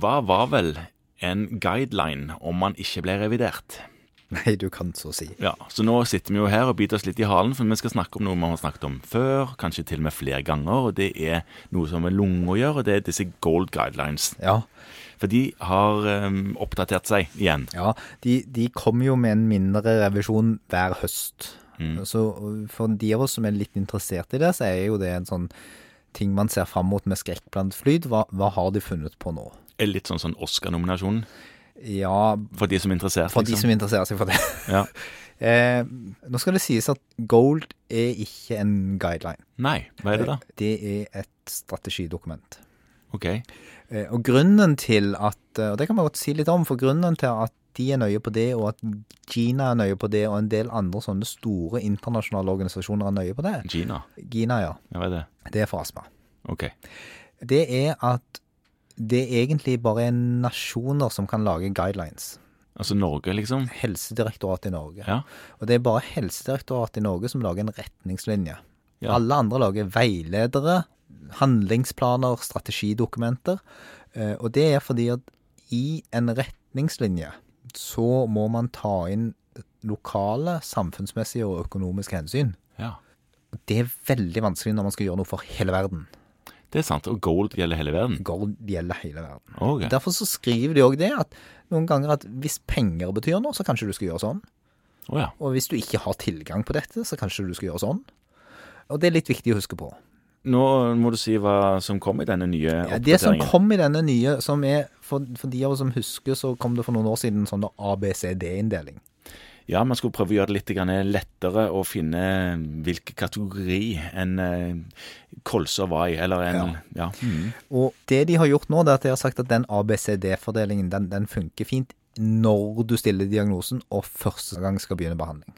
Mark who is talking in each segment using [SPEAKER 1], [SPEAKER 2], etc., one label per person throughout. [SPEAKER 1] Hva var vel en guideline om man ikke ble revidert?
[SPEAKER 2] Nei, du kan så si.
[SPEAKER 1] Ja, Så nå sitter vi jo her og biter oss litt i halen, for vi skal snakke om noe vi har snakket om før, kanskje til og med flere ganger, og det er noe som har med lunger å gjøre, og det er disse gold guidelines.
[SPEAKER 2] Ja,
[SPEAKER 1] For de har eh, oppdatert seg igjen.
[SPEAKER 2] ja de, de kommer jo med en mindre revisjon hver høst. Så for de av oss som er litt interessert i det, så er jo det en sånn ting man ser fram mot med skrekk blant flyd. Hva, hva har de funnet på nå?
[SPEAKER 1] Er Litt sånn, sånn Oscar-nominasjonen
[SPEAKER 2] Ja,
[SPEAKER 1] for de som er interessert. liksom?
[SPEAKER 2] for de som interesserer seg for det.
[SPEAKER 1] Ja.
[SPEAKER 2] Eh, nå skal det sies at gold er ikke en guideline.
[SPEAKER 1] Nei, hva er det da?
[SPEAKER 2] Det er et strategidokument.
[SPEAKER 1] Ok,
[SPEAKER 2] Eh, Og grunnen til at eh, Og det kan man godt si litt om, for grunnen til at de er nøye på det, og at Gina er nøye på det, og en del andre sånne store internasjonale organisasjoner er nøye på det
[SPEAKER 1] Gina,
[SPEAKER 2] Gina, ja.
[SPEAKER 1] ja, hva er det?
[SPEAKER 2] Det er for astma.
[SPEAKER 1] Ok,
[SPEAKER 2] Det er at det egentlig bare er nasjoner som kan lage guidelines.
[SPEAKER 1] altså Norge liksom?
[SPEAKER 2] Helsedirektoratet i Norge.
[SPEAKER 1] Ja.
[SPEAKER 2] Og det er bare Helsedirektoratet i Norge som lager en retningslinje.
[SPEAKER 1] Ja.
[SPEAKER 2] Alle andre lager veiledere, handlingsplaner, strategidokumenter. Eh, Og det er fordi at i en retningslinje så må man ta inn lokale, samfunnsmessige og økonomiske hensyn.
[SPEAKER 1] Ja,
[SPEAKER 2] Det er veldig vanskelig når man skal gjøre noe for hele verden.
[SPEAKER 1] det er sant, og gold gjelder hele verden.
[SPEAKER 2] Gold gjelder hele verden.
[SPEAKER 1] Ok,
[SPEAKER 2] Derfor så skriver de òg det, at noen ganger at hvis penger betyr noe, så kanskje du skal gjøre sånn.
[SPEAKER 1] åja,
[SPEAKER 2] Og hvis du ikke har tilgang på dette, så kanskje du skal gjøre sånn. Og det er litt viktig å huske på.
[SPEAKER 1] Nå må du si hva som kom i denne nye
[SPEAKER 2] Ja,
[SPEAKER 1] oppdateringen.
[SPEAKER 2] det som kom i denne nye, som er for, for de av oss som husker, så kom det for noen år siden en sånn ABCD-inndeling.
[SPEAKER 1] Ja, man skulle prøve å gjøre det litt grann lettere å finne hvilken kategori en eh, kolser var i, eller en Ja.
[SPEAKER 2] Og det de har gjort nå, det er at de har sagt at den ABCD-fordelingen, den, den funker fint når du stiller diagnosen og første gang skal begynne behandling.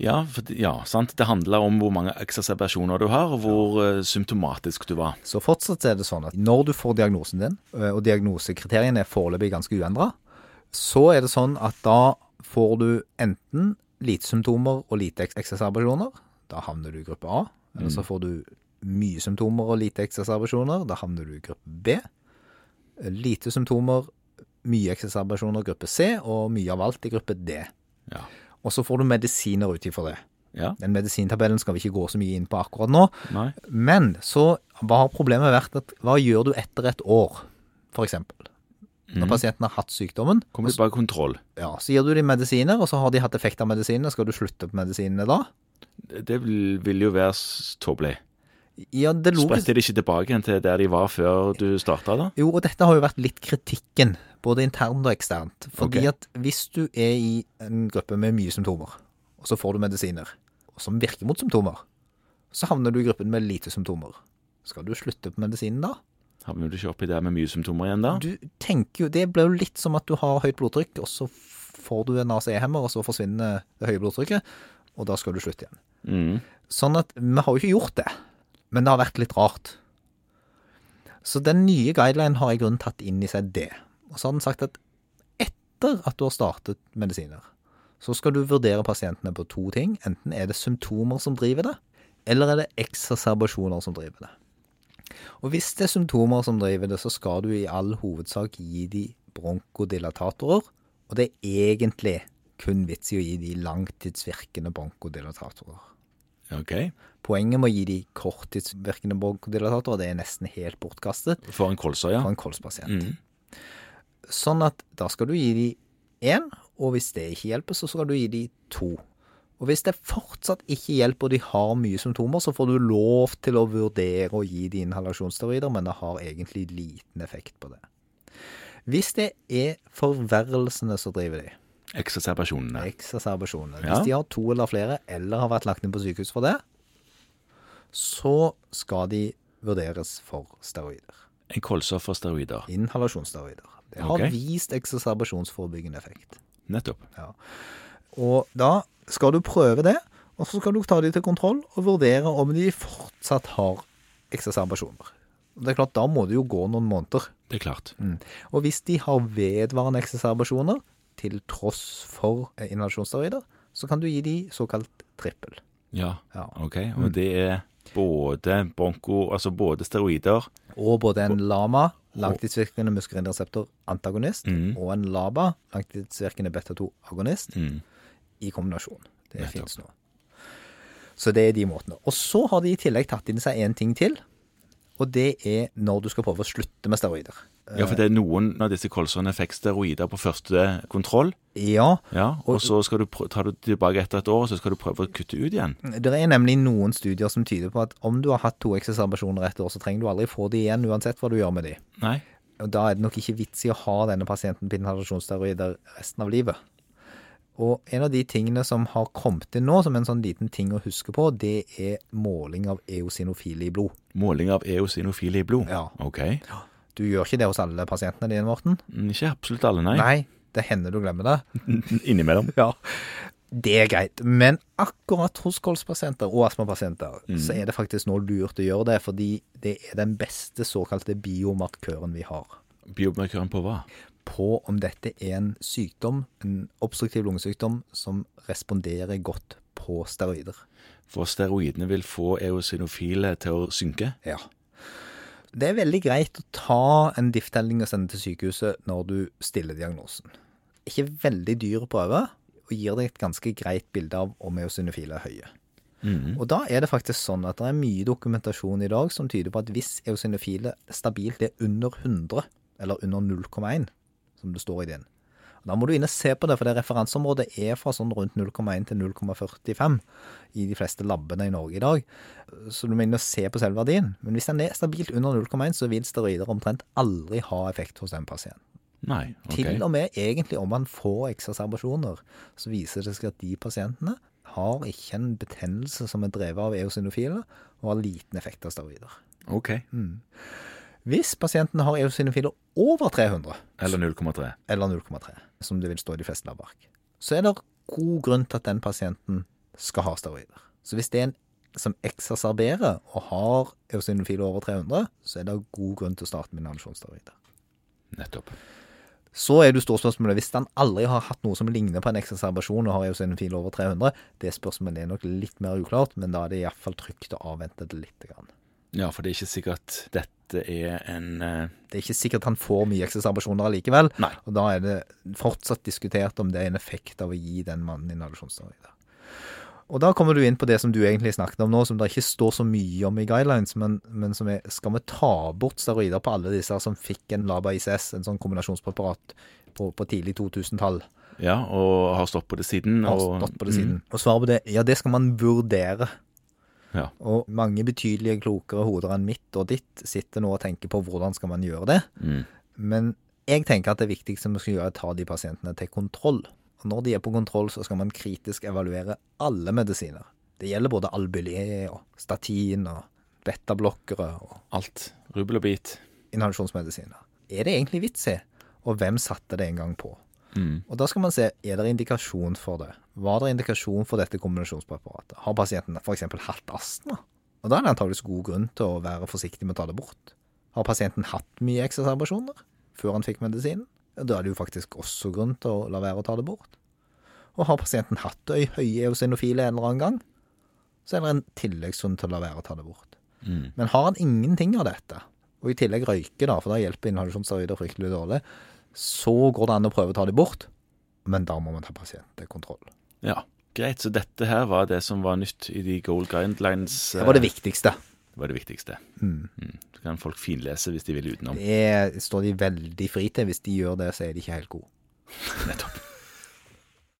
[SPEAKER 1] Ja, for, det- ja, sant. Det handler om hvor mange eksacerbasjoner du har, og hvor eh, symptomatisk du var.
[SPEAKER 2] Så fortsatt er det sånn at når du får diagnosen din, ø, og diagnosekriteriene er foreløpig ganske uendra, så er det sånn at da får du enten lite symptomer og lite eks- eksacerbasjoner. Da havner du i gruppe A. Eller
[SPEAKER 1] Mm.
[SPEAKER 2] så får du mye symptomer og lite eksacerbasjoner. Da havner du i gruppe B. Lite symptomer, mye eksacerbasjoner, gruppe C, og mye av alt i gruppe D.
[SPEAKER 1] Ja.
[SPEAKER 2] Og så får du medisiner ut ifra det.
[SPEAKER 1] ja.
[SPEAKER 2] Den medisintabellen skal vi ikke gå så mye inn på akkurat nå.
[SPEAKER 1] Nei.
[SPEAKER 2] Men så hva har problemet vært at hva gjør du etter et år, f.eks.? Når
[SPEAKER 1] Mhm.
[SPEAKER 2] pasienten har hatt sykdommen,
[SPEAKER 1] Mm. Kommer tilbake kontroll.
[SPEAKER 2] ja, så gir du dem medisiner, og så har de hatt effekt av medisinene. Skal du slutte på medisinene da?
[SPEAKER 1] Det vil, vil jo være s- tåpelig.
[SPEAKER 2] Ja, det logiske
[SPEAKER 1] Spretter de ikke tilbake igjen til der de var før du starta, da?
[SPEAKER 2] Jo, og dette har jo vært litt kritikken, både internt og eksternt. Fordi
[SPEAKER 1] Ok.
[SPEAKER 2] at hvis du er i en gruppe med mye symptomer, og så får du medisiner som virker mot symptomer, så havner du i gruppen med lite symptomer. Skal du slutte på medisinen da?
[SPEAKER 1] Havner du ikke oppi der med mye symptomer igjen da?
[SPEAKER 2] Du tenker jo, Det blir jo litt som at du har høyt blodtrykk, og så får du en ACE-hemmer, og så forsvinner det høye blodtrykket, og da skal du slutte igjen.
[SPEAKER 1] Mm.
[SPEAKER 2] Sånn at vi har jo ikke gjort det, men det har vært litt rart. Så den nye guidelinen har i grunnen tatt inn i seg det. Og så har den sagt at etter at du har startet medisiner, så skal du vurdere pasientene på to ting. Enten er det symptomer som driver det, eller er det eksacerbasjoner som driver det. Og hvis det er symptomer som driver det, så skal du i all hovedsak gi de bronkodilatatorer. Og det er egentlig kun vits i å gi de langtidsvirkende bronkodilatatorer.
[SPEAKER 1] OK.
[SPEAKER 2] Poenget med å gi de korttidsvirkende bronkodilatatorer, det er nesten helt bortkastet
[SPEAKER 1] For en kolser, ja.
[SPEAKER 2] for en kolspasient.
[SPEAKER 1] Mm.
[SPEAKER 2] Sånn at da skal du gi de én, og hvis det ikke hjelper, så skal du gi de to. Og hvis det fortsatt ikke hjelper og de har mye symptomer, så får du lov til å vurdere å gi de inhalasjonsteroider, men det har egentlig liten effekt på det. Hvis det er forverrelsene som driver de,
[SPEAKER 1] Eksacerbasjonene.
[SPEAKER 2] eksacerbasjonene.
[SPEAKER 1] Ja.
[SPEAKER 2] Hvis de har to eller flere, eller har vært lagt inn på sykehus for det, så skal de vurderes for steroider.
[SPEAKER 1] En kolser for steroider.
[SPEAKER 2] Inhalasjonsteroider. Det har
[SPEAKER 1] Ok.
[SPEAKER 2] vist eksacerbasjonsforebyggende effekt.
[SPEAKER 1] Nettopp.
[SPEAKER 2] Og da skal du prøve det, og så skal du ta de til kontroll og vurdere om de fortsatt har eksacerbasjoner. Det er klart, Da må det jo gå noen måneder.
[SPEAKER 1] Det er klart.
[SPEAKER 2] Mm. Og hvis de har vedvarende eksacerbasjoner til tross for eh, inhalasjonsteroider, så kan du gi de såkalt trippel.
[SPEAKER 1] Ja.
[SPEAKER 2] Ja.
[SPEAKER 1] OK. Og det er både bronko, altså både steroider
[SPEAKER 2] Og både en lama Langtidsvirkende muskulinreseptor antagonist
[SPEAKER 1] Mm.
[SPEAKER 2] og en LABA, langtidsvirkende beta-2-agonist,
[SPEAKER 1] Mm.
[SPEAKER 2] i kombinasjon. Det
[SPEAKER 1] Nettopp.
[SPEAKER 2] fins nå. Så det er de måtene. Og så har de i tillegg tatt inn seg en ting til. Og det er når du skal prøve å slutte med steroider.
[SPEAKER 1] Ja, for det er noen av disse kolsene fikk steroider på første kontroll.
[SPEAKER 2] Ja,
[SPEAKER 1] Ja, og så skal du prø- tar du det tilbake etter et år, og så skal du prøve å kutte ut igjen.
[SPEAKER 2] det er nemlig noen studier som tyder på at om du har hatt to ekseserbasjoner ett år, så trenger du aldri få de igjen, uansett hva du gjør med de.
[SPEAKER 1] Nei.
[SPEAKER 2] Og da er det nok ikke vits i å ha denne pasienten på inhalasjonssteroider resten av livet. Og en av de tingene som har kommet inn nå, som en sånn liten ting å huske på, det er måling av eosinofile i blod.
[SPEAKER 1] Måling av eosinofile i blod.
[SPEAKER 2] Ja.
[SPEAKER 1] OK.
[SPEAKER 2] Du gjør ikke det hos alle pasientene dine, Morten?
[SPEAKER 1] Mm, Ikke absolutt alle, nei.
[SPEAKER 2] Nei, det hender du glemmer det.
[SPEAKER 1] Innimellom.
[SPEAKER 2] Ja. Det er greit, men akkurat hos kolspasienter og astmapasienter så er det faktisk nå lurt å gjøre det, fordi det er den beste såkalte biomarkøren vi har.
[SPEAKER 1] Biomarkøren på hva?
[SPEAKER 2] på om dette er en sykdom, en obstruktiv lungesykdom, som responderer godt på steroider.
[SPEAKER 1] For steroidene vil få eosinofile til å synke.
[SPEAKER 2] Ja. Det er veldig greit å ta en diff-telling og sende til sykehuset når du stiller diagnosen. Ikke veldig dyr prøve, og gir deg et ganske greit bilde av om eosinofile er høye.
[SPEAKER 1] Mm.
[SPEAKER 2] Og da er det faktisk sånn at det er mye dokumentasjon i dag som tyder på at hvis eosinofile stabilt er under 100, eller under 0,1, som det står i din, da må du inn og se på det, for det referanseområdet er fra sånn rundt 0,1 til 0,45 i de fleste labene i Norge i dag. Så du må inn og se på selv verdien. Men hvis den er stabilt under 0,1, så vil steroider omtrent aldri ha effekt hos den pasienten.
[SPEAKER 1] Nei. OK.
[SPEAKER 2] Til og med egentlig om man får eksacerbasjoner, så viser det seg at de pasientene har ikke en betennelse som er drevet av eosinofile, og har liten effekt av steroider.
[SPEAKER 1] Ok.
[SPEAKER 2] Hvis pasienten har eosinofile over 300,
[SPEAKER 1] Eller 0,3.
[SPEAKER 2] eller 0,3, som det vil stå i de fleste lavbark, så er det god grunn til at den pasienten skal ha steroider. Så hvis det er en som eksacerberer og har eosinofile over 300, så er det god grunn til å starte med inhalasjonssteroider.
[SPEAKER 1] Nettopp.
[SPEAKER 2] Så er det jo store spørsmålet hvis han aldri har hatt noe som ligner på en eksacerbasjon og har eosinofile over 300, det spørsmålet er nok litt mer uklart, men da er det iallfall trygt å avvente det litt. Grann.
[SPEAKER 1] Ja, for det er ikke sikkert dette er en eh,
[SPEAKER 2] Det er ikke sikkert han får mye eksacerbasjoner allikevel.
[SPEAKER 1] Nei.
[SPEAKER 2] Og da er det fortsatt diskutert om det er en effekt av å gi den mannen inhalasjonssteroider. Og da kommer du inn på det som du egentlig snakket om nå, som det ikke står så mye om i guidelines, men, men som er Skal vi ta bort steroider på alle disse som fikk en LABA ICS, en sånn kombinasjonspreparat, på, på tidlig 2000-tall?
[SPEAKER 1] Ja, og har stått på det siden.
[SPEAKER 2] Har
[SPEAKER 1] og-
[SPEAKER 2] stått på det siden. Og svaret på det ja, det skal man vurdere.
[SPEAKER 1] Ja.
[SPEAKER 2] Og mange betydelige klokere hoder enn mitt og ditt sitter nå og tenker på hvordan skal man gjøre det.
[SPEAKER 1] Mm.
[SPEAKER 2] Men jeg tenker at det viktigste vi skal gjøre, er å ta de pasientene til kontroll. Og når de er på kontroll, så skal man kritisk evaluere alle medisiner. Det gjelder både Albulé og statin og betablokkere og
[SPEAKER 1] Alt. Rubbel og bit.
[SPEAKER 2] inhalasjonsmedisiner. Er det egentlig vits i? Og hvem satte det en gang på?
[SPEAKER 1] Mm.
[SPEAKER 2] Og da skal man se, er det indikasjon for det? Var det indikasjon for dette kombinasjonspreparatet? Har pasienten f.eks. hatt astma? Og da er det antageligvis god grunn til å være forsiktig med å ta det bort. Har pasienten hatt mye eksacerbasjoner før han fikk medisinen? Ja, Da er det jo faktisk også grunn til å la være å ta det bort. Og har pasienten hatt øy høye eosinofile en eller annen gang, så er det en tilleggsgrunn til å la være å ta det bort.
[SPEAKER 1] Mm.
[SPEAKER 2] Men har han ingenting av dette, og i tillegg røyker, da, for da hjelper inhalasjonssteroider fryktelig dårlig, så går det an å prøve å ta dem bort, men da må man ta pasienten til kontroll.
[SPEAKER 1] Ja. Greit, så dette her var det som var nytt i de gold guidelines.
[SPEAKER 2] Det var det
[SPEAKER 1] eh,
[SPEAKER 2] viktigste.
[SPEAKER 1] var det viktigste. Mm. Så kan folk finlese hvis de vil utenom.
[SPEAKER 2] Det står de veldig fri til. Hvis de gjør det, så er de ikke helt gode.
[SPEAKER 1] Nettopp.